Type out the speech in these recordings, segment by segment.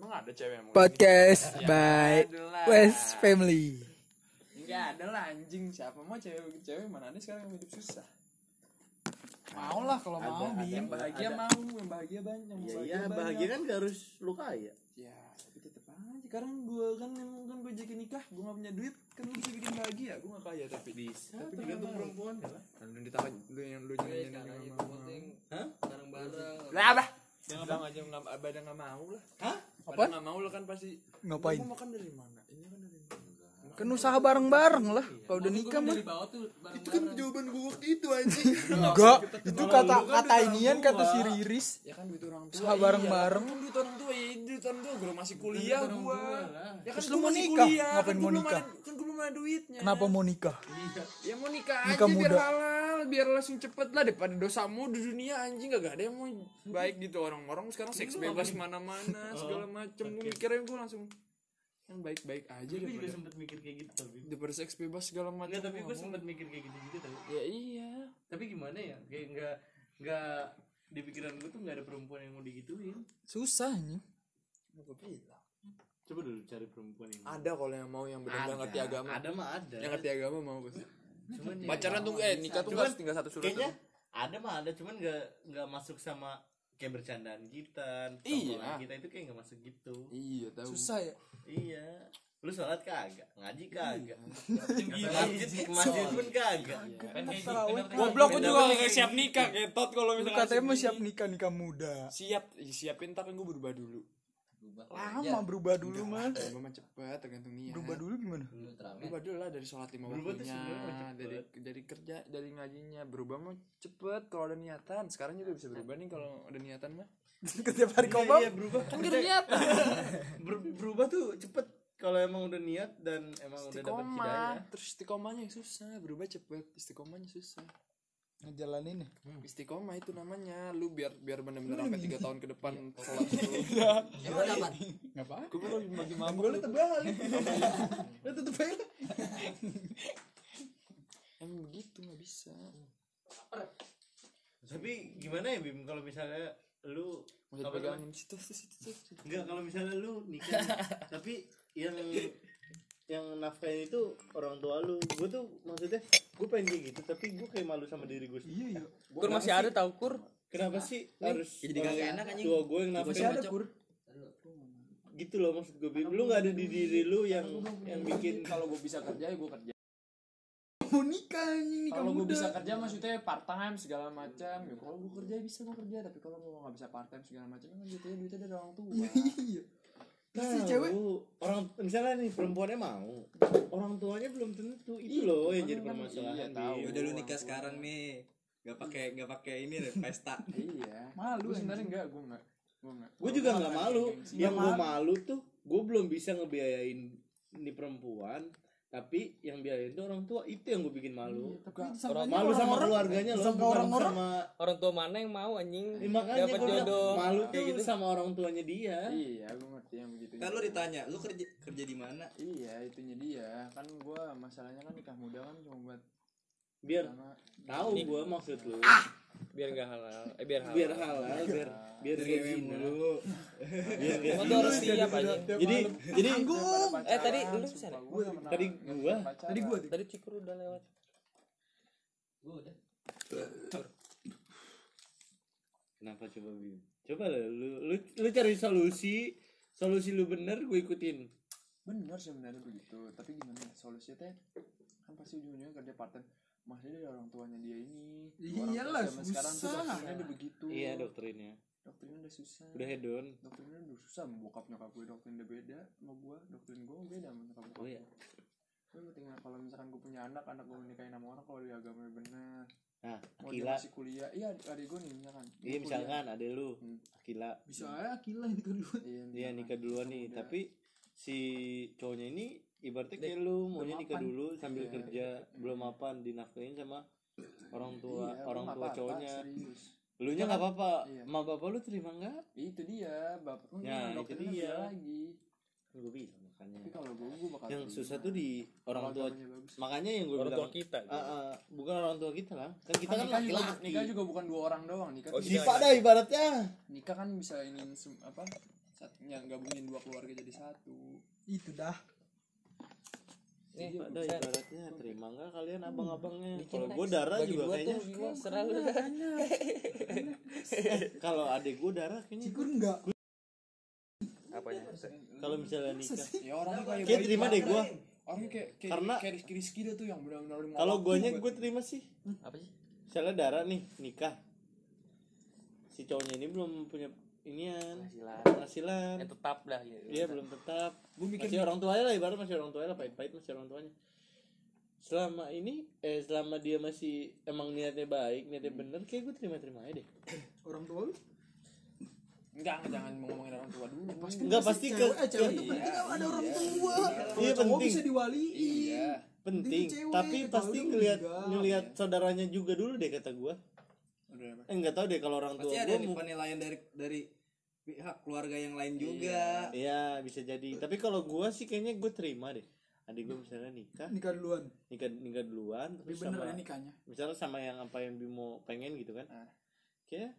nggak ada cewek yang mau Podcast Ya, by adalah. West Family. nggak ada lah anjing siapa mau cewek cewek mana ada sekarang yang hidup susah mau lah kalau mau Ada- Bim. yang bahagia ada. mau yang bahagia banyak yang Iya, iya, bahagia kan gak harus lu Iya, kaya. ya tapi tetep aja sekarang gue kan kan gue jadi nikah gue gak punya duit kan gue bisa bikin bahagia gue gak kaya tapi bisa tapi tergantung perempuan ya lah lu ditanya lu yang lu Udah, nyanyi sekarang itu penting Hah? bareng bareng lah lah bilang aja Ya, nggak abad nggak mau lah Hah? apa nggak mau lo kan pasti Ngapain? Gua makan dari mana ini kan dari mana Kan usaha bareng-bareng lah. Kalau udah kan nikah mah. dari bawah tuh bareng itu kan bareng jawaban gue waktu itu anjing Enggak. Itu kata kata inian kata si Riris. ya kan duit orang tua Usaha bareng-bareng. iya. Kan duit orang tua ya duit orang tua gue masih kuliah orang gue tua lah. ya Terus kan lu gue mau masih nikah? kuliah Ngapain kan mau gue belum nikah? ada kan gue belum ada duitnya Kenapa mau nikah? Ya mau nikah, Nikah aja biar muda. halal, biar langsung cepet lah daripada dosamu di dunia anjing gak ada yang mau baik gitu orang-orang sekarang seks bebas mana-mana segala macem gue mikirnya gue langsung yang baik-baik aja Gue juga daripada sempet mikir kayak gitu tapi daripada seks bebas segala macem Enggak tapi gue Nggak mau. sempet mikir kayak gitu-gitu tapi ya iya Tapi gimana ya kayak enggak enggak di pikiran gue tuh enggak ada perempuan yang mau digituin Susah anjing. Gua bilang. Coba dulu cari perempuan yang ada kalau yang mau yang benar-benar ngerti agama Ada mah ada. yang ngerti agama mau gue cuman ya pacaran tuh eh nikah tuh Iya, Cuman, nggak tinggal satu surat Kayaknya doang. ada mah ada, cuman gak nggak masuk sama kayak bercandaan kita, Iya. tongkrongan kita itu kayak nggak masuk gitu. iya tahu Susah ya. Iya. Lu sholat kagak, ngaji kagak, ke Gila. masjid ke masjid pun kagak. Kan kayak Terawih. gitu. Goblok, Goblok, gue juga gak siap nikah, ketot kalau Iya, Lu misalnya katanya mau langsung siap nikah nikah muda. ini. Siap, Ih, siapin tapi gue berubah dulu Lama berubah dulu mah. Berubah mah cepet, tergantung niat Berubah dulu gimana? Lu terawih. berubah dulu lah dari sholat lima Berubah tuh waktunya sebenarnya mah cepet. dari dari kerja dari ngajinya berubah mah cepet kalau ada niatan sekarang juga bisa berubah nih kalau ada niatan mah Setiap hari kau bang. Iya, berubah. kan gak ada niatan Ber- berubah tuh cepet kalau emang udah niat dan emang udah dapat hidayah. istiqomah terus istiqomahnya yang susah berubah cepet istiqomahnya susah Ngejalanin ya. istiqomah itu namanya lu biar biar bener-bener sampai tiga tahun ke depan sholat lu Emang dapat? Enggak apa. gue belum bagi mabuk Gue lu terbalik. Lu tetep aja. emang begitu nggak bisa Tapi gimana ya Bim kalau misalnya lu mau jadi Apa pegangin situ situ situ situ. Enggak kalau misalnya lu nikah tapi yang yang nafkahin itu orang tua lu gue tuh maksudnya gue pengen kayak gitu tapi gue kayak malu sama diri gue sendiri Iya iya. Gua kenapa sih- tau kur. kenapa sih harus Iya. jadi kagak orang enak, anjing. tua gue yang Masih nafkahin ada kur. gitu loh maksud gue Bim. lu nggak ada di diri lu yang yang bikin kalau gue bisa kerja ya gue kerja Mau nikah anjing nikah kalau gue muda. bisa kan. kerja maksudnya part time segala macam ya kalau gue kerja bisa gue kerja tapi kalau gue nggak bisa part time segala macam kan duitnya duitnya dari orang tua Iya iya. Terus si Tahu, cewek orang misalnya nih perempuannya mau orang tuanya belum tentu itu loh yang kan, jadi iya, permasalahan tahu. Bim. udah lu nikah sekarang nih nggak pakai nggak pakai ini deh pesta iya Malu, gue sebenarnya anjing. enggak gue enggak gue enggak gue juga nggak malu yang gue malu. malu tuh gue belum bisa ngebiayain ini perempuan tapi yang biayain tuh orang tua itu yang gue bikin Iya, malu tapi orang disangkanya malu sama orang-orang- keluarganya loh disangka bukan orang-orang sama orang tua mana yang mau anjing Eh, makanya dapat gua bilang, jodoh malu tuh kayak gitu sama orang tuanya dia iya gue ngerti yang begitu kan lu ditanya lu kerja kerja di mana iya itunya dia kan gue masalahnya kan nikah muda kan cuma buat biar Iya. sama tahu gue maksud lu Ah, biar nggak halal eh biar halal biar halal biar biar kayak gini biar kayak Emang gini. tuh harus siap anjing jadi jadi eh tadi lu sana gue tadi gua tadi gue tadi cikur udah lewat kenapa coba Bim? coba lah, lu, lu lu cari solusi solusi lu bener gue ikutin bener sebenarnya begitu tapi gimana ya, solusinya teh kan pasti ujung-ujungnya kerja part time masih dari orang tuanya dia ini Orang tua Iyalah, zaman sekarang tuh susah. doktrinnya udah begitu iya doktrinnya doktrinnya udah susah udah hedon doktrinnya udah susah sama bokap nyokap gue doktrin udah beda sama gue doktrin gue beda sama nyokap bokap Oh iya. gue penting kalau misalkan gue punya anak anak gue nikahin sama orang kalau dia agamanya benar Nah, mau Oh, dia Akila, masih kuliah iya adik adik gue nih misalkan iya Dia kuliah. misalkan ada lu, Hmm. Akila, bisa aja Akila nikah duluan. iya dia nikah duluan nih, Udah. tapi si cowoknya ini ibaratnya kayak lu maunya nikah dulu sambil Iya. kerja belum mapan dinafkahin sama orang tua Iya, orang gua tua nggak apa-apa, cowoknya serius. lu nya nggak apa-apa Iya. ma bapak lu terima nggak itu dia bapak kan Nah, itu doktrinnya dia. beda lagi gue bisa tapi kan makanya kalau gue gue bakal yang terima. susah tuh di Kalau orang tua agamanya bagus. makanya yang gue orang tua bilang kita ah, ah, bukan orang tua kita lah kan kita Kan kan nikah juga, laki-laki nikah juga bukan dua orang doang nikah Oh, tuh iya. Sifat dah ibaratnya nikah kan bisa ingin sem- apa satunya gabungin dua keluarga jadi satu itu dah Nih, Ada Sen, ibaratnya terima nggak kalian Hmm. abang-abangnya? Bikin Kalau lah. gue darah bagi juga gua kayaknya. tuh gua serah lu. Kalau adik gue darah kayaknya. cikur enggak Apanya? Kalau misalnya nikah. ya orangnya kayak Kayak terima deh ya. gue. orangnya kayak kayak, Karena- kayak Rizky Rizky dia tuh yang benar-benar lima Kalau waktu guanya buat- gue terima sih. Apa sih? Misalnya darah nih nikah. Si cowoknya ini belum punya inian Penghasilan. penghasilan. Ya tetap dah gitu. Dia belum tetap. Gua mikir Masih orang tua lah ibarat masih orang tua lah pahit-pahit masih orang tuanya. Selama ini eh selama dia masih emang niatnya baik, niatnya bener kayak gue terima-terima aja deh. orang tua lu enggak enggak, jangan ngomongin orang tua dulu pasti Enggak pasti ke cewek, eh, cewek tuh iya, penting ada orang tua Iya, iya, cowok penting. bisa diwaliin Iya. penting, Itu cewek, tapi kalau pasti lu ngelihat enggak. ngelihat saudaranya juga dulu deh kata gue. Udah, apa? Eh enggak tahu deh kalau orang pasti tua ada gue nih penilaian dari dari pihak keluarga yang lain juga Iya bisa jadi. Tapi kalau gue sih kayaknya gue terima deh. Adik gue misalnya nikah, nikah duluan nikah nikah duluan, tapi terus bener sama ya nikahnya misalnya sama yang apa yang Bimo pengen gitu kan. Ah. Kayak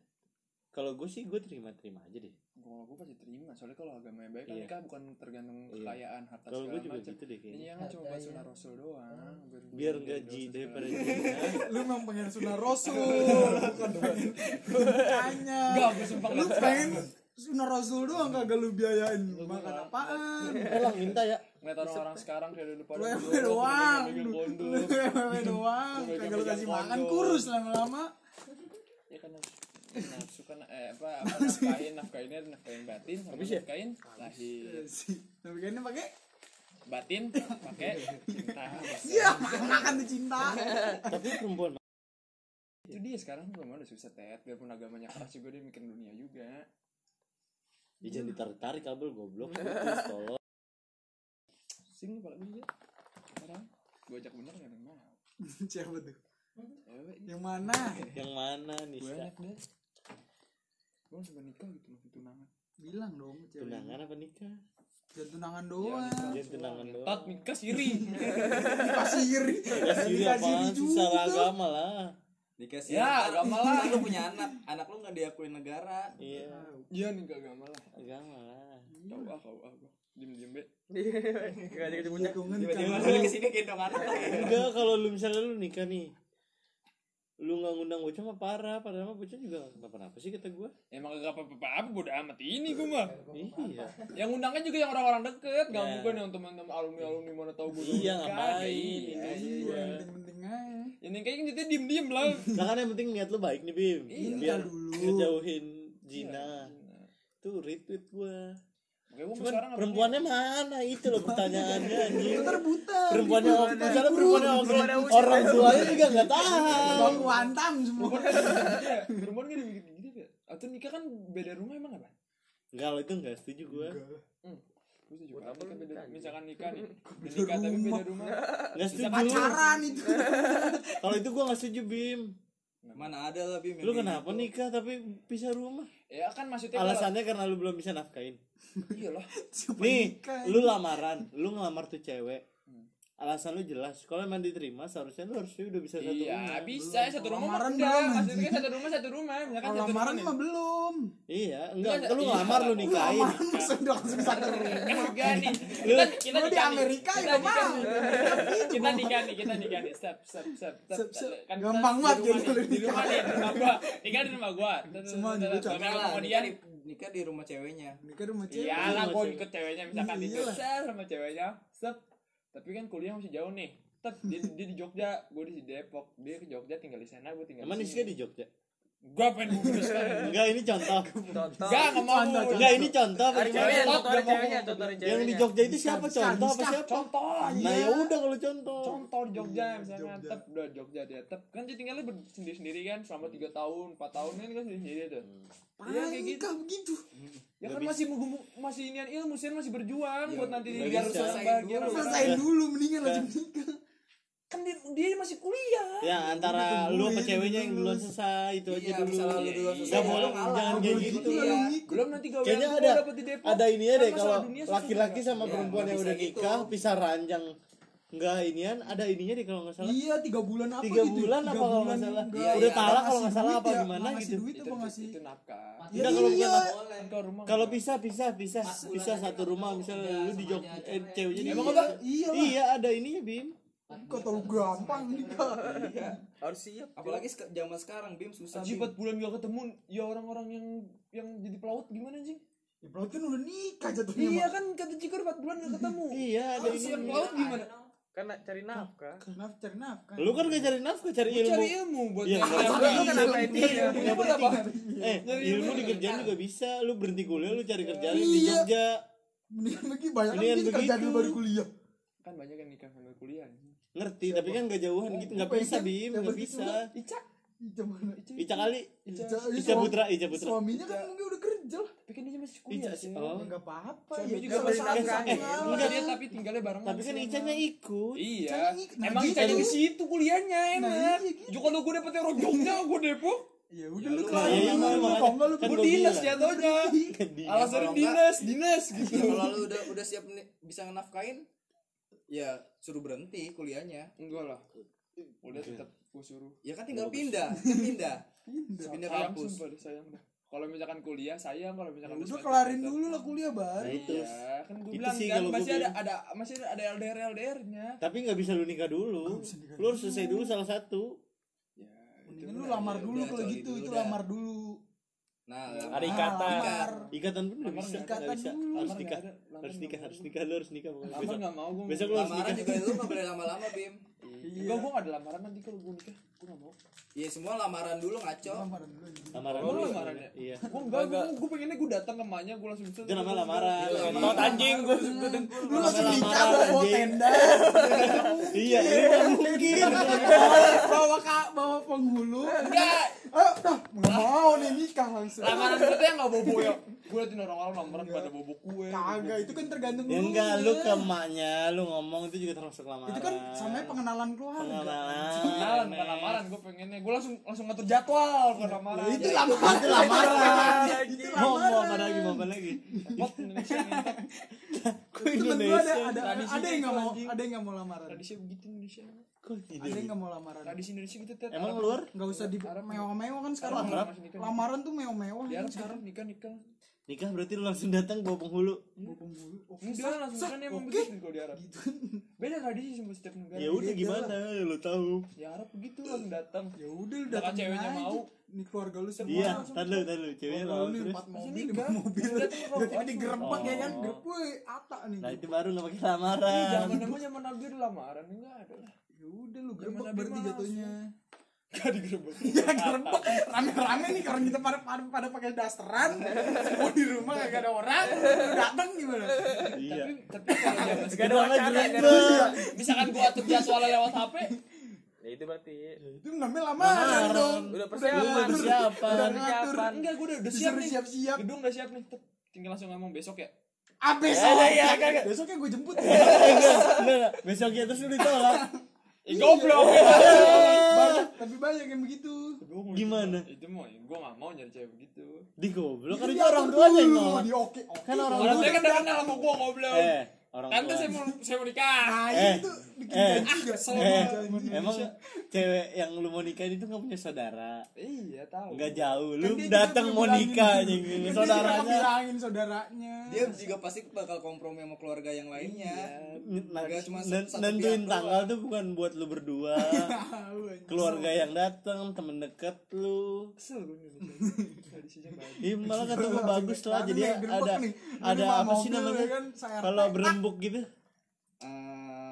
kalau gue sih gue terima terima aja deh. kalau gue pasti terima soalnya kalau agamanya baik kan Iya. nikah bukan tergantung Iya. kekayaan harta Kalau gue segala juga macam Iya. gitu deh ini kayaknya. yang cuma buat Harta, iya. sunnah rasul Hmm. doang Biar gaji dosa daripada segala jina. lu memang pengen sunah rasul bukan pengen tanya macam. enggak gue sumpah lu enggak pengen sunah rasul doang kagak lu biayain Lu makan makan. apaan Tolong minta ya. ngeliat orang-orang sekarang kayak dulu lu pada ewe berdua, doang megang lu kondom. lu ewe doang Lu kagak lu megang-megang kasih makan kondom. kurus lama-lama ya Iya kan nafsu kan eh apa apa nafkahin nafkahinnya nafkahin batin sama Habis ya? nafkahin lahir sih tapi kayaknya pakai batin pakai cinta iya makan tuh cinta Tapi perempuan. itu dia sekarang belum ada susah tet biarpun agamanya keras juga dia mikir dunia juga Ya, jangan ditarik-tarik kabel goblok. Putus, tolong. sing kepala gue juga sekarang gue Iya. ajak bener gak ada yang mau siapa tuh cewek yang mana Yang mana nih? Sa? banyak deh gue sampai nikah gitu masih tunangan bilang dong cewek Tunangan apa nikah? jangan tunangan doang Jangan tunangan doang. tak nikah siri nikah siri Kasih nikah siri apaan? Susah juga agama lah. dikasih Ya, Ntar- agama lah. ntar lu punya anak anak lu nggak diakui negara Iya, iya nikah agama lah agama lah. kau ah kau ah gue diem diem be Enggak jadi puncak. Hitungan tiba-tiba kan. lu kesini gendong anak Enggak kalau lu misalnya lu nikah nih lu nggak ngundang bocah mah parah padahal mah bocah juga nggak kenapa sih kata gua emang gak apa apa apa bodo amat ini gue mah iya yang undangnya juga yang orang-orang deket gak Ya. mungkin yang teman-teman alumni alumni mana tahu gue Iya, ngapain, iya iya itu yang penting-penting aja yang kayak gitu diem diem lah nah kan yang penting niat lu baik nih bim Iya, biar dulu. ngejauhin Jina tuh retweet gua Makanya gue cuman sekarang apa perempuannya mana itu loh pertanyaannya anjing Itu terbuta perempuannya Gitu, oke mana? misalnya perempuannya oke orang tuanya juga nggak tahu Bang Wantam semua nih? Iya, perempuan gak dibikin gitu ya atau nikah kan beda rumah emang apa nggak lo itu nggak setuju gua gue setuju kan nikah beda misalkan nikah nih udah nikah tapi rumah. beda rumah nggak setuju pacaran itu kalau itu gua nggak setuju bim mana ada lah bim lu kenapa nikah tapi pisah rumah ya kan maksudnya kalau- alasannya karena lu belum bisa nafkain iya lah Siapa Nih, nikah? lu lamaran, lu ngelamar tuh cewek. Alasan lu jelas. Kalau emang diterima, seharusnya lu harusnya udah bisa satu iya rumah. bisa satu rumah mah Lamaran enggak belum, maksudnya kan satu rumah satu rumah misalkan Kan Kalau satu lamaran rumah mah ya? nih. belum Iya, enggak, Iya, lu iya. ngelamar lu Lu nikahin. lamaran masa udah langsung satu rumah Enggak nih. Kita kita Lu nikah di nih. Amerika Kita ya nikah mau nih. kita nikah nih kita nikah nih step step step Step, step. Kan kita Gampang di banget rumah nih, gitu lu di rumah nih nikah. di rumah gua nikah di rumah gua Tut, tut, Semua tut, nih, tut, bocah. tut. nikah lah nikah kemudian di, nikah di rumah ceweknya Nikah rumah cewek iyalah Iya, gua cewek. ikut ceweknya misalkan di Iyalah. set sama ceweknya set tapi kan kuliah masih jauh nih Tet, dia, dia di Jogja, gua di Depok, dia ke Jogja tinggal di sana, gua tinggal Emang di Rizka sini. di Jogja? Gua pengen kan. memutuskan. Enggak, ini contoh. Contoh. Enggak, enggak mau. Contoh, contoh. Enggak, ini contoh apa Dari cewek? ceweknya, Contoh, contoh gua mau dari ceweknya, contoh dari Yang di ceweknya. Jogja itu siapa? Rizka, Contoh apa Rizka. siapa? Contoh, Nah, iya. ya udah kalau contoh. Iya, contoh di Jogja misalnya Jogja. tep udah Jogja dia tep kan dia tinggalnya ber- sendiri-sendiri kan selama 3 tahun 4 tahun kan kan sendiri-sendiri tuh Iya, kayak gitu. nikah begitu Iya. ya Hmm. Nggak kan bisa. Iya. masih menggumu, masih inian ilmu sih masih berjuang buat nanti nggak dia bisa. selesai Selesain bahagia dulu. rame-rame. Selesain dulu Iya. mendingan langsung nikah kan dia, dia masih kuliah Ya, antara Tungguin, lu sama ceweknya tungguin. yang duluan selesai itu Iya, aja dulu. misalnya lu duluan selesai, Nggak boleh, lu ngalah. jangan kayak Lu gitu. duluan. Belum Iya. nikah. belum nanti gawe Kayaknya ada dapet di Depok ada ini ya Kan deh masalah kalau dunia susah laki-laki juga. sama Iya, perempuan yang bisa udah gitu. nikah pisah ranjang. nggak inian ada ininya deh kalau nggak salah Iya tiga bulan apa Tiga gitu? bulan apa kalau nggak salah? enggak. Udah Iya, talak kalau ngasih nggak salah duit apa ya, gimana ngasih gitu. duit apa ngasih? itu nakal Ya Enggak, kalau bukan iya. talak. kalau rumah Kalau pisah pisah pisah Empat bulan pisah aja satu nggak rumah tahu. misalnya Udah, lu di sama jog aja eh, cewek. ceweknya di Emang ada? Iya lah. Iya ada ininya Bim. Kok terlalu gampang nikah? harus siap Iya. Apalagi sek- zaman sekarang Bim susah. Anjing Bim. 4 bulan gak ketemu ya orang-orang yang yang jadi pelaut gimana anjing? Ya berarti kan udah nikah jatuhnya. Iya Mak. kan kata Cikor 4 bulan gak ketemu. Iya ada Harus siap ininya. pelaut gimana? kan nak cari nafkah Kenapa cari nafkah? kan? Lu kan gak cari nafkah cari Lu ilmu. cari ilmu buat Iya, nyari nggak nafkah. usah. Lu kan apa ini? Iya, Punya buat apa? Eh Nyari ilmu ilmu. di kerjaan juga bisa. Lu berhenti kuliah lu cari kerjaan di Iya. Jogja. Mendingan lagi banyak kan Mendingan mungkin kerja dulu begitu. baru kuliah. Kan banyak yang nikah sambil kuliah. anjing. Ngerti tapi kan gak jauhan gitu nggak Apa bisa Ica? Bim Yang nggak begitu bisa. kan? Ica, Ica mana? Iya, Ica kali. Ica, Ica suami- Putra Ica Putra. Suaminya kan mungkin udah kerja lah. tapi kan dia masih Ica kuliah. sih. sih. Oh. Enggak apa-apa Suami ya. juga Sama- beri sama- nafkah, sama- ya. sama- Enggak dia tapi tinggalnya barengan. Tapi kan sama. Icanya ikut. Iya. Icanya ikut. Nah, Emang gitu. Icanya di situ kuliahnya Nah, enak. iya gitu. Juga kalau gue dapetnya orang Jogja gue Depok. Ya udah lu Nah, kelarin iya, dulu lu iya, Iya. makanya. kalau enggak lu Kan Gue gua dinas ya. bilang. jatuhnya. Alasannya Kalau enggak- dinas, dinas gitu. Ya, Kalau lu udah udah siap ni- bisa nafkain ya suruh berhenti kuliahnya. Enggak lah. Udah tetap gue suruh. Ya kan tinggal pindah, pindah. Pindah Sayang kampus. sumpah deh, sayang dah. Kalau misalkan kuliah sayang, kalau misalkan Udah semester kelarin tetap. dulu lah kuliah Nah, baru. itu. Iya, kan gue Itu bilang sih kan kalau gua masih ada bilang. ada masih ada LDR LDR-nya. Tapi nggak bisa lu nikah dulu. Lu harus selesai dulu salah satu. Ya, Mendingan lu lamar udah, dulu udah, kalau coli gitu, dulu itu dah. lamar dulu. Nah, Ada ikatan. Ah, lamar. Ikatan pun nggak Lamar bisa. nggak ada. Nggak bisa. Ikatan dulu. Harus Lamar nikah. nggak ada. Lamar Harus nggak nikah. ada. Harus nikah. Lu harus nikah pokoknya. Lama Besok. nggak mau gue. Besok lu Iya. harus lamaran nikah. juga lu nggak boleh lama-lama Bim. Enggak gue nggak ada lamaran nanti kalau gue nikah, gue nggak mau. Ya semua lamaran dulu ngaco. Lamar dulu. anjing. Lamaran Oh, dulu. lamaran ya? Iya. Gue enggak, gue gue pengennya gue datang ke emaknya gue langsung bisa. Itu namanya lamaran. Tot anjing gue Lu langsung lamaran, nikah bawa bawa anjing. tenda. Iya, iya nggak mungkin. bawa kak bawa penghulu Enggak, eh dah nggak mau nih nikah langsung lamaran kita yang nggak bobo ya. Gue liatin orang-orang lamaran pada bobo kue. kagak itu kan tergantung Ya enggak, lu ke ya. emaknya, lu ngomong itu juga termasuk lamaran. itu kan samanya pengenalan keluarga pengenalan. Kenalan bukan lamaran, gue pengennya gue langsung langsung ngatur jadwal Iya. bukan Ya, lamaran. itu lamaran itu lamaran itu Mau mau apa lamaran lagi, mau apa lagi? Pot Indonesia minta Kok temen gua kan ada Indonesia? ada Tradisi ada yang nggak mau anjing. ada yang nggak mau lamaran tradisi begitu Indonesia. Kok ada yang Indonesia? nggak mau lamaran Tradisi Indonesia gitu tetap. Emang luar? nggak usah di Arab. mewah-mewah kan sekarang Arab, Arab. lamaran tuh mewah-mewah Di Arab anjing sekarang Iya, sekarang nikah nikah. Nikah berarti lu langsung datang bawa penghulu. Bawa penghulu Oh, Enggak sah, langsung sah, kan emang oke. begitu kalau di Arab. gitu Beda tradisi semua setiap negara. Ya udah Beda gimana, lu tahu. Di Arab begitu langsung datang. ya udah lu Udah kan datang ceweknya aja. mau. nih keluarga lu semua Iya, langsung. tar lu, tar lu, ceweknya Keluarga lawan lu nih terus. empat Langsung mobil nikah. lima mobil Langsung datang ke jadi bawah. digerebek ya kan Oh. gerep woi ata nih Nah itu gerep. baru nggak pakai Ih, lamaran. Iya, Zaman namanya zaman Nabi udah lamaran enggak ada lah. ya udah lu Zaman gerebek Nabi berarti masuk. jatuhnya Enggak digerebek. ya gerebek rame-rame nih orang kita pada pada, pada pakai dasteran semua di rumah gak ada orang lu datang gimana Iya. Tapi tapi kalau zaman gak ada sekarang wacana misalkan gua atur jadwal lewat HP, ya itu berarti itu namanya lamaran Lamaran. dong udah Lu persiapan persiapan. udah ngatur persiapan enggak gua udah udah siap disuruh nih. siap-siap Gedung udah siap nih. Tet, Tinggal langsung ngomong besok ya. abis Ya, ya, kagak. besoknya gue jemput ya. Eh, enggak, enggak, enggak. Besoknya terus lu ditolak. Eh goblok. banyak tapi banyak yang begitu Gimana? Itu mau gua enggak mau nyari cewek begitu. Di goblok kan Jadi Iya, itu orang diatur tuanya yang dulu, nolak. di oke oke Kan orang Orang tua. saya kan udah kenal sama gua goblok. Eh, orang Kan Tante tua. saya mau saya mau nikah. nah Eh, itu bikin eh, gaji gak Eh, selalu emang cewek yang lu mau nikahin itu nggak punya saudara. Iya, tahu. Nggak jauh, Kan lu dia juga datang mau bilangin. nikah Kan dia anjing. juga saudaranya. bilangin saudaranya Dia juga pasti bakal kompromi sama keluarga yang lainnya. Nah, Nggak cuma nen- satu nentuin pihak tanggal tuh bukan buat lu berdua, Tahu, anjing. keluarga yang datang, temen deket lu. Kesel gua Indonesia. Tradisinya banyak. Ih, malah ketemu Langsung bagus kayak, lah aduh jadi nih, gerembek ada nih. Ini ada mah apa sih mobil, namanya ya kan, saya kalau RT. berembuk gitu Eh,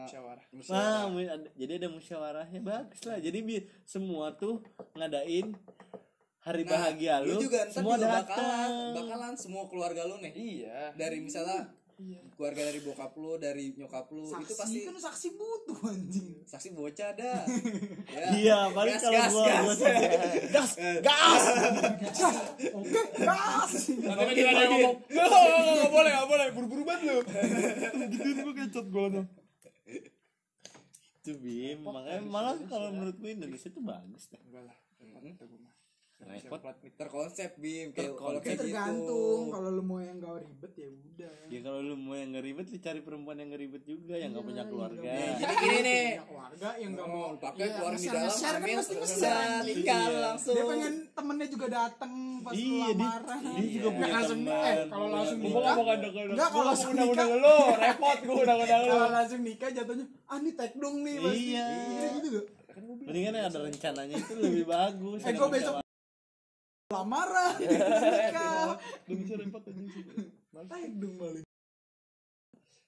Musyawarah. nah musyawarah. mu- ada- jadi ada musyawarahnya bagus lah jadi bi- semua tuh ngadain hari Nah, bahagia lu, juga ntar semua juga bakalan, datang bakalan semua keluarga lu nih. Iya. Dari misalnya keluarga dari bokap lu, dari nyokap lu, saksi itu pasti kan saksi butuh anjing saksi bocah dah. Ya. iya paling Gas, kalau gas, gua gas. gua sampai- gas gas oke gas Nanti kan juga ada yang ngomong, "Nggak, nggak, nggak, nggak boleh, nggak boleh, buru-buru banget lu." gitu gua kecot gua tuh Itu, Bim. makanya malah kalau menurut gue Indonesia tuh bagus dah Enggak lah, repot itu gua mah. repot terkonsep Bim kayak Terkonsep. kalau kayak gitu tergantung kalau lu mau yang gak ribet ribet ya udah ya kalau lu mau yang ngeribet lu cari perempuan yang ngeribet juga yang nggak punya keluarga Ya, jadi Iya. gini nih Punya keluarga yang nggak mau mau pakai Iya, keluarin di ngeser- dalam Nah, ngeser kan ambil pasti ngeser, udah anjing. tinggal Iya. langsung dia pengen temennya juga dateng pas Iya, dia- lamaran dia juga punya Nggak langsung teman, Iya. eh kalau punya- langsung Gua nikah nggak bakal Nggak, kalau langsung nikah lu repot gue undang-undang lu kalau langsung nikah jatuhnya ah ini tag dong nih pasti Iya. Kayak gitu gak Kan mendingan yang ada rencananya itu lebih bagus eh Ada gue besok rencana. lamaran nikah Indonesia repot anjing. tag dong paling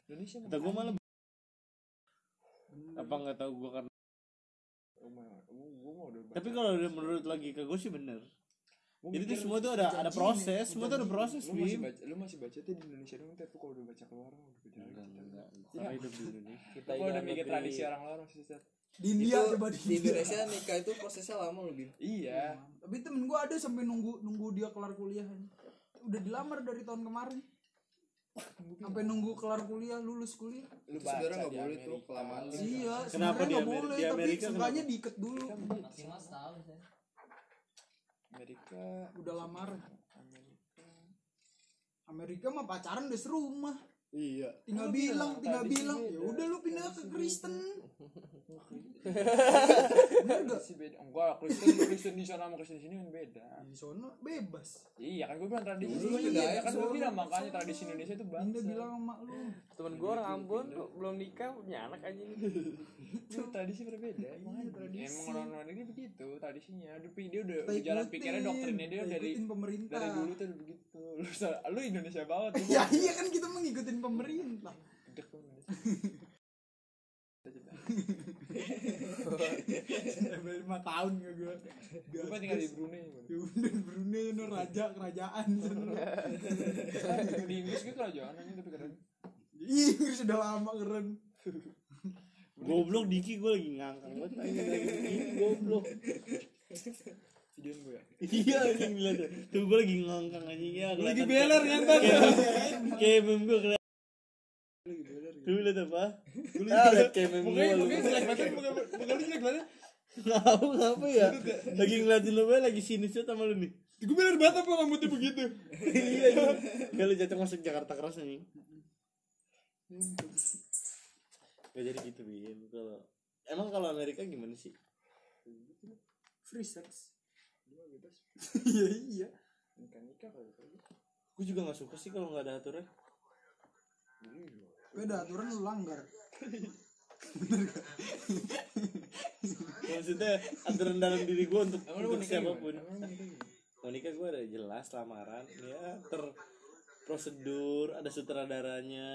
kata gue malah apa nggak tahu gue karena tapi kalau udah menurut logika gue sih bener jadi itu semua tuh ada ada proses semua tuh ada proses lu masih Bim. baca lu masih baca tuh di Indonesia doang tapi kalau udah baca keluar udah beda lagi Enggak, cerita. enggak. Karena hidup di Indonesia. kita Gua udah mikir negeri. tradisi orang luar sih Sat. di India itu Iya, coba di di India. Indonesia nikah itu prosesnya lama lebih iya tapi temen gue ada sampai nunggu nunggu dia kelar kuliah udah dilamar dari tahun kemarin sampai nunggu kelar kuliah lulus kuliah lu Itu baca sebenarnya nggak di boleh tuh Amerika. kelamaan iya Kenapa sebenarnya di nggak Amer- boleh di tapi Amerika seenggaknya diikat dulu Iya. maksimal setahun saya Amerika udah lamaran Amerika mah pacaran udah serumah iya tinggal bilang tinggal bilang ya udah lu pindah ke Kristen Masih beda. Enggak, Kristen Kristen di sana sama Kristen di sini kan beda. di sono bebas Iya kan gue bilang tradisi Dulu sih. juga Iya, ya, kan gue sono, bilang makanya tradisi Indonesia itu Dinda bangsa. bilang sama lu temen gue orang Ambon kok belum nikah punya anak aja Itu tradisi berbeda. Emang Iya. tradisi. Emang orang luar negeri begitu tradisinya. Dia, dia udah kita udah jalan ikutin, pikirnya doktrinya dia kita dari ikutin pemerintah dari dulu tuh udah begitu. Lu sa- lu Indonesia banget. Lu. ya iya kan kita mengikutin pemerintah Gedek lu, Indonesia. Sampai lima tahun gak gue Gue kan tinggal di Brunei. Iya. Bun. ya udah Brunei no raja kerajaan Iya. sana. Di Inggris gitu gue kerajaan aja tapi keren. Ih, Inggris udah lama keren Goblok Diki gue lagi ngangkang banget tanya lagi Diki, goblok. Videoin gue ya. Iya anjing gila ya. tuh. Tuh gue lagi ngangkang anjing ya. Iya. Lagi beler, ngentot. Kayak meme gue kelihatan. Lu lihat apa? Lu lihat Ah, kayak meme gue. iya. Mungkin mungkin jelek banget, mungkin mungkin lu jelek banget. Tahu ngapa ya? Lagi ngeliatin lu gue lagi sinis banget sama lu nih. Gue bener banget apa rambutnya begitu. Iya anjing. Kayak lu jatuh masuk Jakarta keras anjing. Gak jadi gitu Bim kalau Emang kalau Amerika gimana sih? free sex iya iya Nikah nikah kali. Gue juga gak suka sih kalau gak ada aturan Gak ada aturan lu langgar Maksudnya aturan dalam diri gue untuk, Emang lu mau untuk nikah gimana? siapapun Emang lu mau nikah gimana? mau nikah gue ada jelas lamaran ya terprosedur ada sutradaranya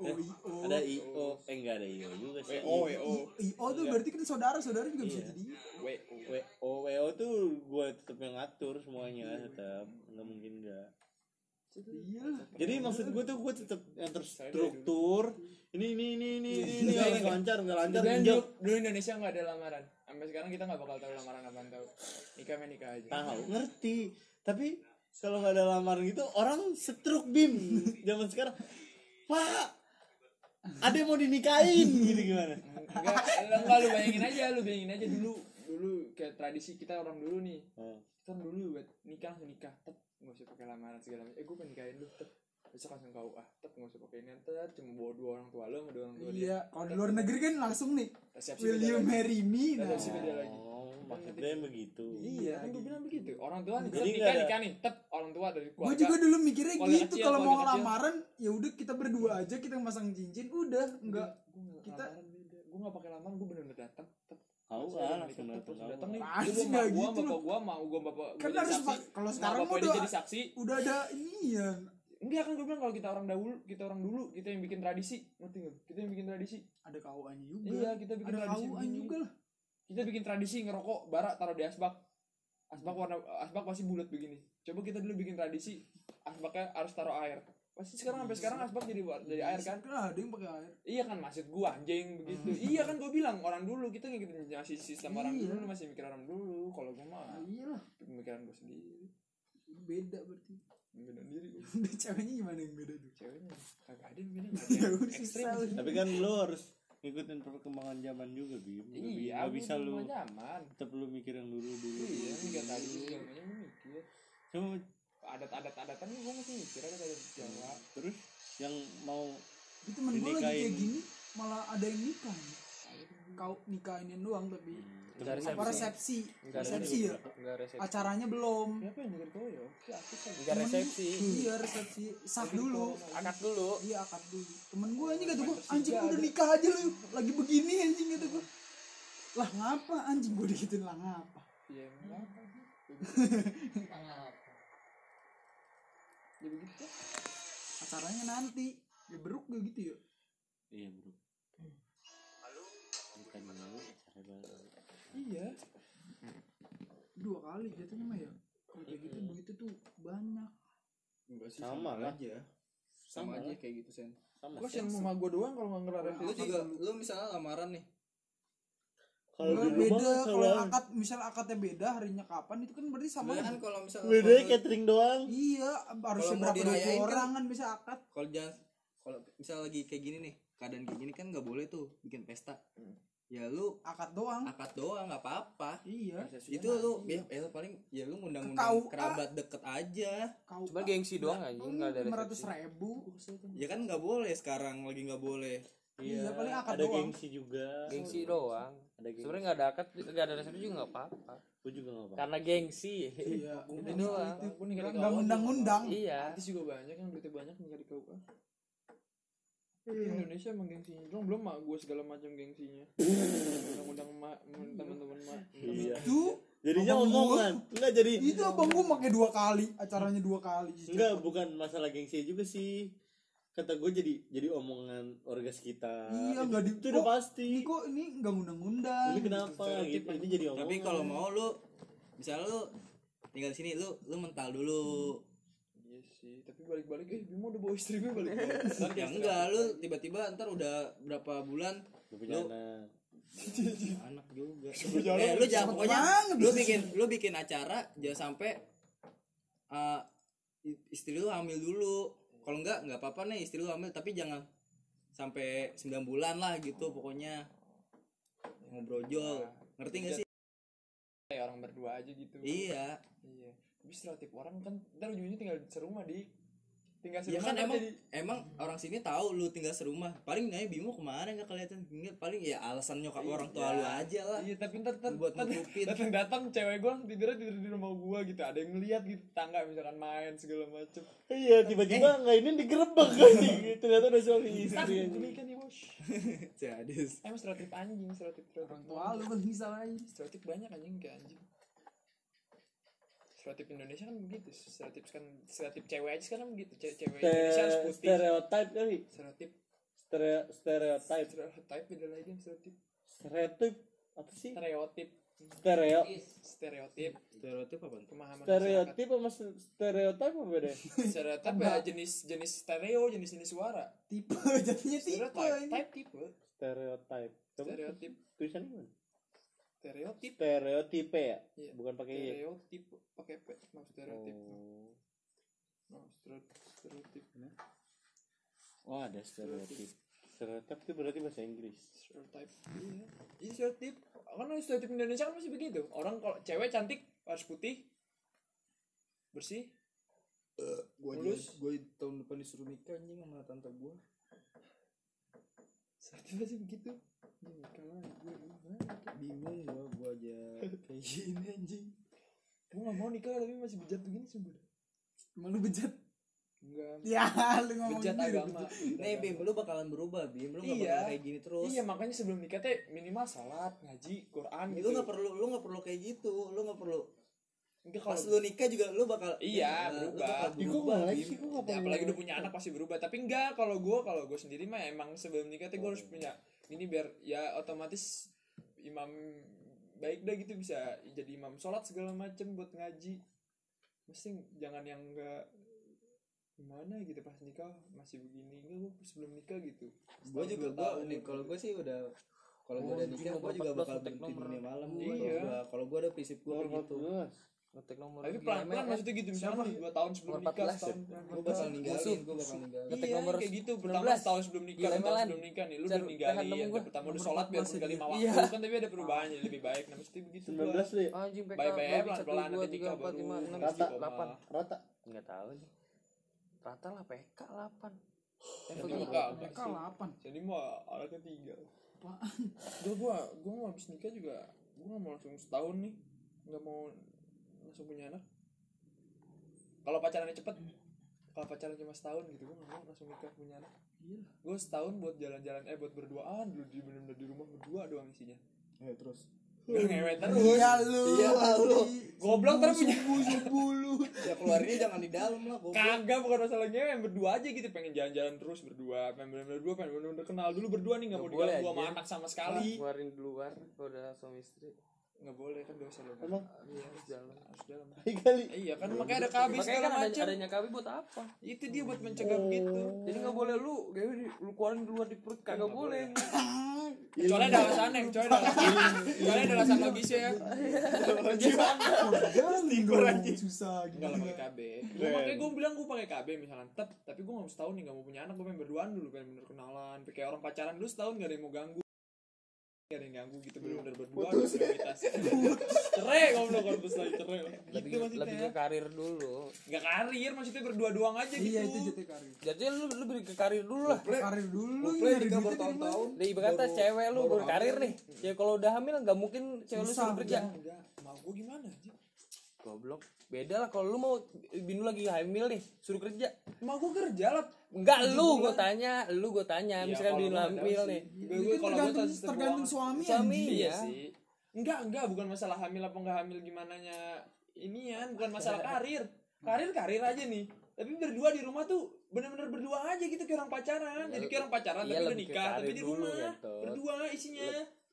oh i oh ada io eh enggak ada io juga sih WO WO I- oh Iya. tuh berarti kan saudara saudara juga bisa jadi WO. wo wo tuh gue tetap yang ngatur Hmm. semuanya tetap nggak mungkin enggak iya jadi maksud gue tuh gue tetap yang terstruktur ini ini ini ini ini, ini Iya. harus lancar nggak lancar Dan enggak dulu, dulu Indonesia nggak ada lamaran. Sampai sekarang kita nggak bakal tahu lamaran apa tahu. Nikah mah nikah aja. tahu ngerti tapi kalau nggak ada lamaran gitu orang setruk bim zaman sekarang pak ada yang mau dinikahin gitu gimana Enggak, lu- enggak lu bayangin aja, lu bayangin aja dulu dulu kayak tradisi kita orang dulu nih. Kita orang dulu buat nikah langsung nikah, tet nggak usah pakai lamaran segala macam. Eh gue pengen nikahin lu, tet besok langsung kau ah, tet nggak usah pakai ini, tet cuma bawa dua orang tua lu sama dua orang tua dia. iya kalau di luar negeri kan langsung nih Resepsi will beda kan? you lagi. marry me nah Resepsi beda lagi. oh maksudnya yang begitu Iya, kan gue bilang begitu. Orang tua nih, Jadi tet, nggak nikah ada- nikah nih, tet orang tua dari gue keluarga. juga dulu mikirnya keluarga gitu kecil, kalau mau keluarga kecil. lamaran ya udah kita berdua aja kita masang cincin udah enggak kita Kita- gue nggak pakai lamaran gue bener-bener datang tet tahu Langsung lah datang, tet, langsung datang langsung tahu. datang nih Apaan Dulu sih, emak nggak gua gitu bapak loh. gua mau gua bapak gua Kan jadi harus saksi pak- kalau Emak sekarang bapak mah dia udah- jadi saksi udah ada ini ya enggak kan gue bilang kalau kita orang dahulu kita orang dulu kita yang bikin tradisi ngerti nggak kita yang bikin tradisi ada kauan juga iya kita bikin ada tradisi kauan begini. juga lah kita bikin tradisi ngerokok bara taruh di asbak asbak warna asbak pasti bulat begini coba kita dulu bikin tradisi asbaknya harus taruh air pasti sekarang sampai sekarang Iya. asbak jadi war- jadi air kan Nah, ada yang pakai air Iya kan maksud gua anjing begitu. Iya kan gua bilang orang dulu kita ngikutin masih sistem orang Iya. dulu masih mikir orang dulu. Kalau gua mah Nah, iyalah pemikiran gua sendiri. beda berarti Pemikiran diri gua. udah ceweknya gimana yang beda tuh Ceweknya kagak ada yang beda. nggak ada yang udah, ekstrim. susah. tapi kan lu harus ngikutin perkembangan zaman juga bim Nggak bi- Iya, nggak bisa lu Iya, nyaman. tetap lu mikir yang dulu dulu Iya, mikir tadi juga namanya mikir. cuma adat-adat adatan gue masih mikir ada adat Jawa. terus yang mau Itu temen gue lagi Dinikahin. kayak gini malah ada yang nikah. Kau nikahin doang tapi Hmm. Enggak apa resepsi? Enggak resepsi ya? Enggak resepsi. Acaranya belum. Siapa yang denger gue ya? Oke, aku kan. Enggak Temen resepsi. gua- Iya resepsi. Sah dulu. Akad dulu. Iya akad dulu. Temen gue anjing kata gue anjing gua udah nikah aja lu lagi begini anjing kata gue. Lah ngapa anjing gue digituin lah ngapa? Iya, emang apa? Ya begitu. Acaranya nanti. Ya beruk gue gitu ya. iya bro halo bukan mau acara baru Iya. Dua kali jatuhnya mah ya. Kalau kayak gitu duitnya tuh banyak. Enggak sih, Sama lah. aja. Sama Sama, aja lah. kayak gitu, Sen. sama Gue yang mama gue doang kalau nggak ngelarang. Lu juga lu misalnya lamaran nih. kalau Enggak, dulu beda mah kalau salah Iya, akad misal akadnya beda harinya kapan itu kan berarti sama Sebenarnya aja. kan kalau misalnya bedanya kalau- ya, catering doang Iya, harusnya Kalau mau berapa dua dirayain kan- orang kan bisa akad. kalau jangan kalau misalnya lagi kayak gini nih, keadaan kayak gini kan nggak boleh tuh bikin pesta. Ya lu Akad doang. akad doang nggak apa-apa. Nah, Iya, itu lu ya, ya lu paling ya lu Ke ngundang-undang KUA. kerabat deket aja kau Cuma gengsi doang aja, enggak ada lima ratus resepsi. ribu. ya kan nggak boleh sekarang lagi nggak boleh Iya, paling akad ada doang. gengsi juga Gengsi doang. ada gengsi Sebenarnya enggak ada akad, enggak ada resepsi juga enggak apa-apa. gue juga nggak apa Karena gengsi. Iya, Itu doang. Gue nikah di Enggak KUA. undang-undang. Iya. Artis juga banyak yang duitnya banyak nikah di KUA. Iya. Indonesia emang gengsinya doang belum mak gue segala macam gengsinya. Undang-undang mak, teman-teman mak. Iya. Itu jadinya Abang gua. omongan enggak jadi itu abang gua pakai dua kali, acaranya dua kali. enggak bukan masalah gengsi juga sih kata gue jadi jadi omongan orgas kita Iya, Itu- nggak di- itu udah kok- pasti Ini kok ini enggak ngundang-ngundang. ini kenapa gitu ini jadi omongan tapi kalau mau lu misalnya lu tinggal di sini lu lu mental dulu Iya sih, tapi balik-balik eh Bimo udah bawa istri gue balik. Ntar ya enggak lu tiba-tiba ntar udah berapa bulan Gua punya Lu- anak. anak juga eh, lu jangan Cepet pokoknya banget. lu bikin lu bikin acara jangan sampai eh, i- istri lu hamil dulu kalau enggak nggak apa-apa nih istri lu hamil tapi jangan sampai 9 bulan lah gitu pokoknya ngobrojol ngerti gak sih Kayak orang berdua aja gitu. iya Iya. Tapi stereotip orang kan ntar ujungnya tinggal serumah di tinggal ya serumah kan ntar emang jadi- emang orang sini tahu lu tinggal serumah paling nanya bimo kemana nggak kelihatan Nggak, paling ya alasan nyokap orang tua lu aja lah Iya, tapi ntar ntar buat ntar- nutupin. datang datang cewek gue tidurnya tidur di rumah gue gitu. Ada yang ngeliat gitu tangga misalkan main segala macem. Iya tiba-tiba nggak ini digerebek kan ternyata ada suami Iya, Tang, istri ini kan ya, wosh. Jadis. Emang stereotip anjing, stereotip stereotip Orang tua lu kan bisa lain. stereotip banyak anjing kayak anjing stereotip Indonesia kan begitu stereotip kan stereotip cewek aja sekarang begitu cewek, cewek Indonesia harus Ste- putih stereotype kali stereotip Stere stereotype stereotip beda lagi yang stereotip stereotip apa sih stereotip stereo stereotip stereotip apa pemahaman stereotip sama s- stereotype apa beda masyarakat. stereotip ya jenis jenis stereo jenis jenis suara Tipe jadinya tipe. stereotip anjing. type tipe stereotype coba stereotip tulisan gimana stereotip stereotipe ya Iya. bukan pakai y stereotip pakai p maaf stereotip oh. no, stereotip stereotip oh ada stereotip stereotip itu berarti bahasa Inggris stereotip iya Iya, stereotip kan stereotip Indonesia kan masih begitu orang kalau cewek cantik harus putih bersih gue Mulus. gue tahun depan disuruh nikah anjing sama tante gue stereotip masih begitu Ini kalau gue bingung gue gue aja kayak gini anjing gue gak mau nikah tapi masih bejat begini sumpah Emang lu bejat. enggak Ya, lu ngomong bejat sendiri, agama bejat. Bejat Nih Bim, agama. lu bakalan berubah Bim, lu nggak Iya. bakal kayak gini terus. iya makanya sebelum nikah teh minimal salat ngaji Quran gitu Lu nggak perlu, lu nggak perlu kayak gitu, lu nggak perlu. Enggak, Pas kalau lu nikah juga lu bakal Nah, Iya, lu berubah. bakal Ih, berubah, Bim. sih gue Ya, apalagi udah punya anak pasti berubah tapi enggak kalau gue kalau gue sendiri mah emang sebelum nikah tuh gue harus punya ini biar ya otomatis imam baik dah gitu bisa jadi imam sholat segala macem buat ngaji mesti jangan yang enggak gimana gitu pas nikah masih begini enggak gue sebelum nikah gitu Gua juga gua Setahun, nih dua kalau tahun. gitu. gua sih udah kalau gua Oh, udah nikah nomor gua juga 14 bakal kontak berhenti nomor. dunia malam. Iya. Kalau gua- Kalau gua ada prinsip gua kayak gitu. Ngetik nomor. tapi lagi, pelan pelan ML. maksudnya gitu misalnya nih dua tahun sebelum Nomor nikah 14 ya? setahun Gua bakal ninggalin, gua bakal ninggalin. Ngetik Iya, nomor kayak gitu pertama 19. setahun sebelum nikah Gila, setahun Melan. sebelum nikah nih lu udah Jangan- jangan ninggalin nemu yang gua. pertama udah Nomor sholat biar 14 lima ya. waktu Iya. kan tapi ada perubahan jadi lebih baik nah mesti begitu gua. 19 deh Eh, Anjing PK Bye-bye, babi pelan-pelan, satu, dua, nanti tiga, nikah empat, baru. lima, enam, Rata. tujuh, delapan. rata nggak tahu nih rata lah PK 8 Jadi mah kagak PK sih. 8 Jadi mah anaknya tiga. apaan Udah gua gua mau habis nikah juga gua nggak mau langsung setahun nih. Nggak mau langsung punya anak. Kalau pacarannya cepet, kalau pacaran cuma setahun gitu gua nggak mau langsung nikah punya anak. Gila. Gua setahun buat jalan-jalan eh buat berduaan dulu di bener-bener di rumah berdua doang isinya. Ya Eh, terus. Gak ngewe terus. lu Iya, lu. Goblok terus punya ya keluarnya jangan di dalam lah goblok. Kagak bukan masalah ngewe, yang berdua aja gitu pengen jalan-jalan terus berdua, pengen bener-bener berdua, pengen bener-bener kenal dulu berdua nih nggak mau Nggak boleh, diganggu sama anjir. anak sama sekali. keluarin di luar kalau udah suami istri Nggak boleh kan dosa lu. Emang Ah. Iya, harus dalam, harus dalam. kali. Iya kan makanya ada KB makanya segala kan ada, macam. adanya KB buat apa Itu dia buat mencegah Oh. gitu. begitu. jadi nggak boleh lu gawe di- lu keluarin di luar di perut kagak boleh Kecuali ada alasannya, kecuali ada Iya. alasan. Kecuali ada alasan logisnya ya. Iya, susah gitu Enggak lah pakai KB. Iya. Gua makanya gue bilang gue pakai KB misalkan tep, tapi gue mau setahun nih gak mau punya anak, gue pengen berduaan dulu, pengen bener kenalan, kayak orang pacaran dulu setahun gak ada yang mau ganggu. Gak ada yang ganggu gitu bener-bener Iya. berdua ada prioritas. Cerai goblok harus lagi cerai. Gitu lebih lebih ke maksudnya. karir dulu Gak karir maksudnya berdua doang aja gitu. iya itu jatuh karir jadi lu lu beri ke karir dulu lah karir dulu Play nyari duitnya nikah dari mana? bertahun-tahun. Lah ibaratnya baru- cewek lu baru baru karir nih. Ya kalau udah hamil nggak mungkin cewek lu Susah, suruh kerja. enggak. Enggak, mau gue gimana sih? Goblok. Beda lah kalau lu mau bini lu lagi hamil nih, suruh kerja. Mau gue kerja lah. Enggak lu gua tanya, lu gua tanya, Ya, misalkan kalau bini Iya, lu nggak ada hamil sih. nih. Gue Ini gue kan kalau gue tergantung sistem tergantung keuangan. suami Suami anjing. Iya ya. sih. Enggak, enggak bukan masalah hamil apa enggak hamil gimana nya. Inian bukan masalah karir. Karir karir aja nih. Tapi berdua di rumah tuh bener-bener berdua aja gitu kayak orang pacaran. Jadi kayak orang pacaran iya, tapi udah lebih ke nikah, tapi karir di dulu, rumah. gitu. Berdua isinya.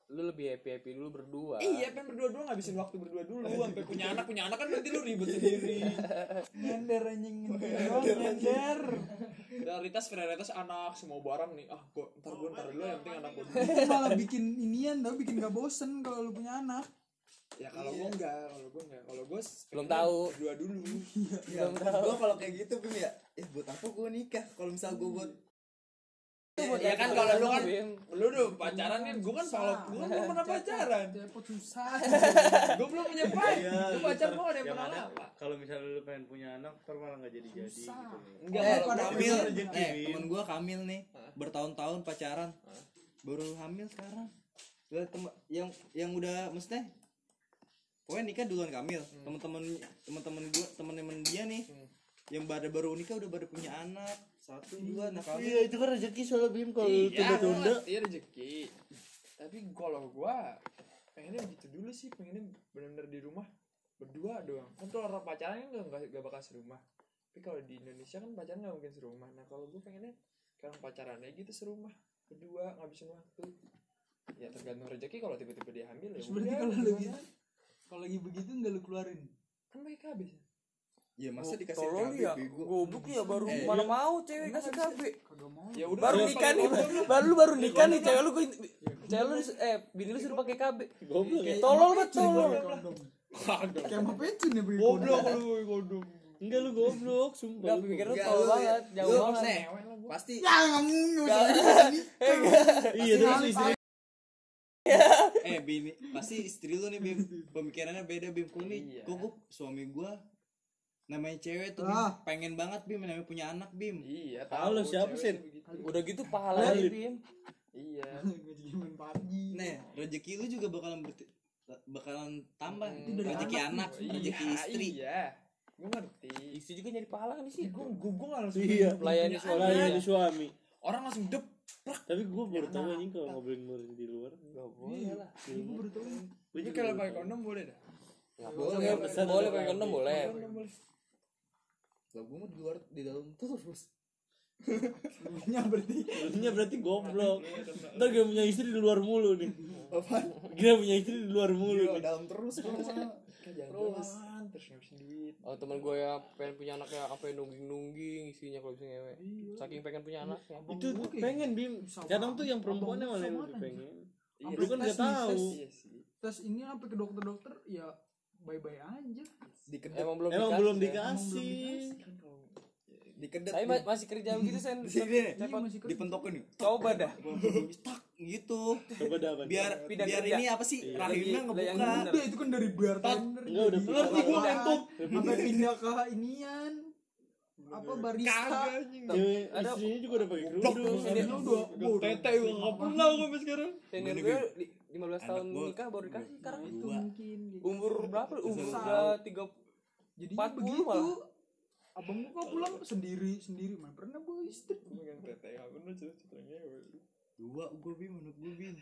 Lu lebih happy-happy dulu berdua. Eh, iya, pengen berdua dulu ngabisin waktu berdua dulu sampai punya anak, punya anak kan nanti lu ribet sendiri. Nyender anjing nyender doang, nyender. Prioritas prioritas anak, semua barang nih. Ah, gua ntar gua ntar dulu yang penting anak gua dulu. Itu malah bikin inian tau bikin gak bosen kalau lu punya anak. Ya kalau gua enggak, kalau gua enggak, kalau gua Belum tahu. Berdua dulu. Ya, gue kalau kayak gitu Bim ya, ya buat apa gue nikah? Kalau misal gue buat Ya Iya, kan kalau lu kan Bim. lu udah pacaran kan gue kan kalau gue kan belum pernah pacaran Depot susah. gue belum punya pacar Iya, gue pacar gue ada yang yang pernah ada lama kalau misalnya lu pengen punya anak ntar malah nggak jadi jadi Susah. gitu nih. enggak eh, kalau pada gua- Kamil, akhirnya rezekiin. eh, temen gue Kamil nih, Hah? bertahun-tahun pacaran, Hah? baru hamil sekarang. Lah, tem- yang yang udah maksudnya, pokoknya nikah duluan Kamil. Temen-temen temen-temen gue, temen-temen dia nih, Hmm. yang pada baru nikah udah pada punya anak satu dua anak iya Kamil. itu kan rezeki soalnya bim kalau lu iya tunda-tunda pasti rezeki tapi kalau gue pengennya begitu dulu sih pengennya benar-benar di rumah berdua doang kan kalau orang pacaran kan gak, gak, bakal serumah tapi kalau di Indonesia kan pacaran gak mungkin serumah nah kalau gue pengennya kalau pacarannya gitu serumah berdua ngabisin waktu ya tergantung rezeki kalau tiba-tiba dia hamil ya Terus berarti udah, kalau lu gimana? gitu- Kalau lagi begitu nggak lu keluarin. kan pakai KB sih Ya masa dikasih Tolol KB, ya, bego. goblok ya baru Eh, mana mau cewek kasih KB. Kagak mau. ya udah Iya. Baru gua nikah pakai nih, orang dulu. baru lu baru nikah nih cewek lu gua cewek lu dis- eh bini lu suruh pakai KB. goblok Iya. ya Tolol banget Jadi tolol. pakai kondom. kagak Kayak mau pecun ya pakai goblok kondom. lu kodong enggak lu goblok sumpah Enggak lu pikir lu eh, Enggak, tolol lu- banget, jauh lu banget. maksudnya, Pasti Ya nggak mau. Eh, goblok. iya terus istri eh bini pasti istri lu nih bim pemikirannya beda bim kok Iya. nih kok gua- suami gua namanya cewek tuh Bim. Ah. pengen banget bim namanya punya anak bim iya Tahu lu siapa, cewek Sin? tuh begitu. Udah gitu pahala Lu- Bim. iya Gue jadi main PUBG. nah rezeki lu juga bakalan berti- bakalan tambah Hmm, dari rezeki anak, anak rezeki Iya, istri iya gue ngerti Istri juga nyari pahala kan di sih situ. gue gue gue langsung Iya. Melayani punya suami. anak. Layani suami orang langsung dep tapi gua baru Ya, tahu nah. anjing kalau ngobrolin ngobrolin di luar Gak boleh lah. Ibu baru tahu. Gua tapi juga kalau baru pakai tahu. kondom Iya, boleh dah Gak boleh, boleh, pesan boleh dulu, pakai kondom Bang. boleh. kondom boleh lah gua mau di luar di dalam terus Ya berarti. Dulunya berarti goblok Iya, kena. ntar gak punya istri di luar mulu nih apaan gak punya istri di luar Iya, mulu Gila, nih Iya, dalam terus Kan gua mah. Kayak jalan-jalan terus ngabisin duit Oh, teman gue ya pengen punya anaknya apa nungging nungging isinya kalau bisa ngewe. Saking pengen punya anaknya. itu pengen gitu. bim kadang tuh yang perempuannya malah yang lebih pengen Iya, lu kan tes gak nih, tahu tes. iya sih Terus ini sampai ke dokter-dokter ya bye-bye aja. dikedep Emang belum emang dikasih, belum Sen. dikasih kan kalau dikedep Tapi ma- masih kerja begitu sen. sini nih Iya masih kerja. dipentokin nih Coba dah. tak gitu coba dah Bang. biar Bidang biar kerja. ini apa sih Iya. rahimnya Lebih- yang Ah, ngebuka iya, bener. Udah itu kan dari bartender. Enggak, udah jadi ngerti gua, pelayan, kentut. Sampai pindah ke inian. apa barista Cewek istrinya juga udah pakai kerudung. Ini lu dua bodoh. Tete gue nggak pernah gue sampai sekarang. Senior Gimana, gue Bim? li- 15 tahun Anak gua- nikah baru dikasih sekarang itu Dua. mungkin gitu. umur berapa? Umur Susah. udah 30 Jadi 40 begitu. malah. Abang gua kok pulang sendiri sendiri mana pernah gua istri. Gue megang tete nggak pernah cerita ceritanya. dua gue bim menurut gue bim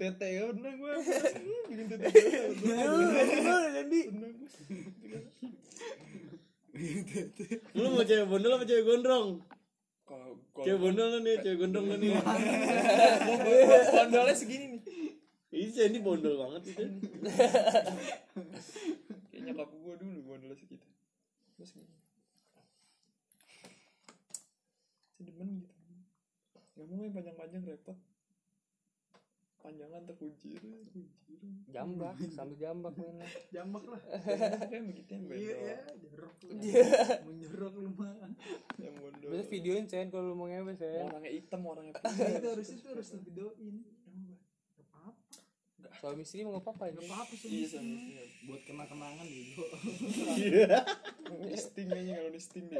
Tete nggak pernah gue. Bikin tete. Iya. jadi Gitu, Lu mau cewek bondol apa cewek gondrong? Kalau kalau Cewek bondol lu nih, cewek gondrong lu nih. bondolnya segini nih. Iya, ini bondol banget itu. Kayak nyokap gue dulu bondolnya segitu. Terus gini. Sedemen gitu. Gak mau yang panjang-panjang repot. Panjangan terkunci. Kunci. jambak, sambil jambak mainnya. Jambak lah. Kayak begitu yang Iya bondol. ya, jorok lu. Menjerok lu mah. Yang bondol. Biasa videoin Sen kalau lu mau ngewe Sen. Orangnya hitam, orangnya Ya, putih. itu harus itu harus divideoin. Gak apa-apa. Suami istri mau Gak apa-apa ini. apa-apa sih. Iya, sama. Iya. buat kenang kenangan gitu listing aja kalau listing deh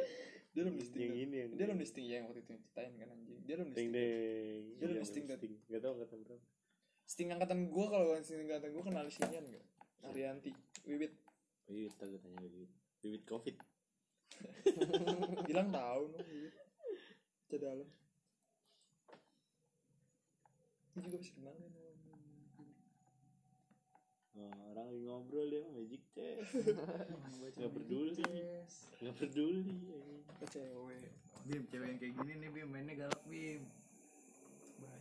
dia belum listing Yang dong. ini yang dia belum listing ya yang waktu itu yang ceritain kan anjing dia belum listing Ding ding. Dia Iya, listing, kan? listing. Gak tau angkatan berapa. listing angkatan gua kalau bukan listing angkatan gua kenal listingan enggak Arianti Wiwit Iya, tau gue tanya lagi. Bibit covid. bilang tahu no Wiwit cedalem ini juga bisa kenal kan Wah, Oh, orang lagi ngobrol ya, magic chess. Gak peduli. Gak peduli. ke cewek bim cewek yang kayak gini nih bim mainnya galak bim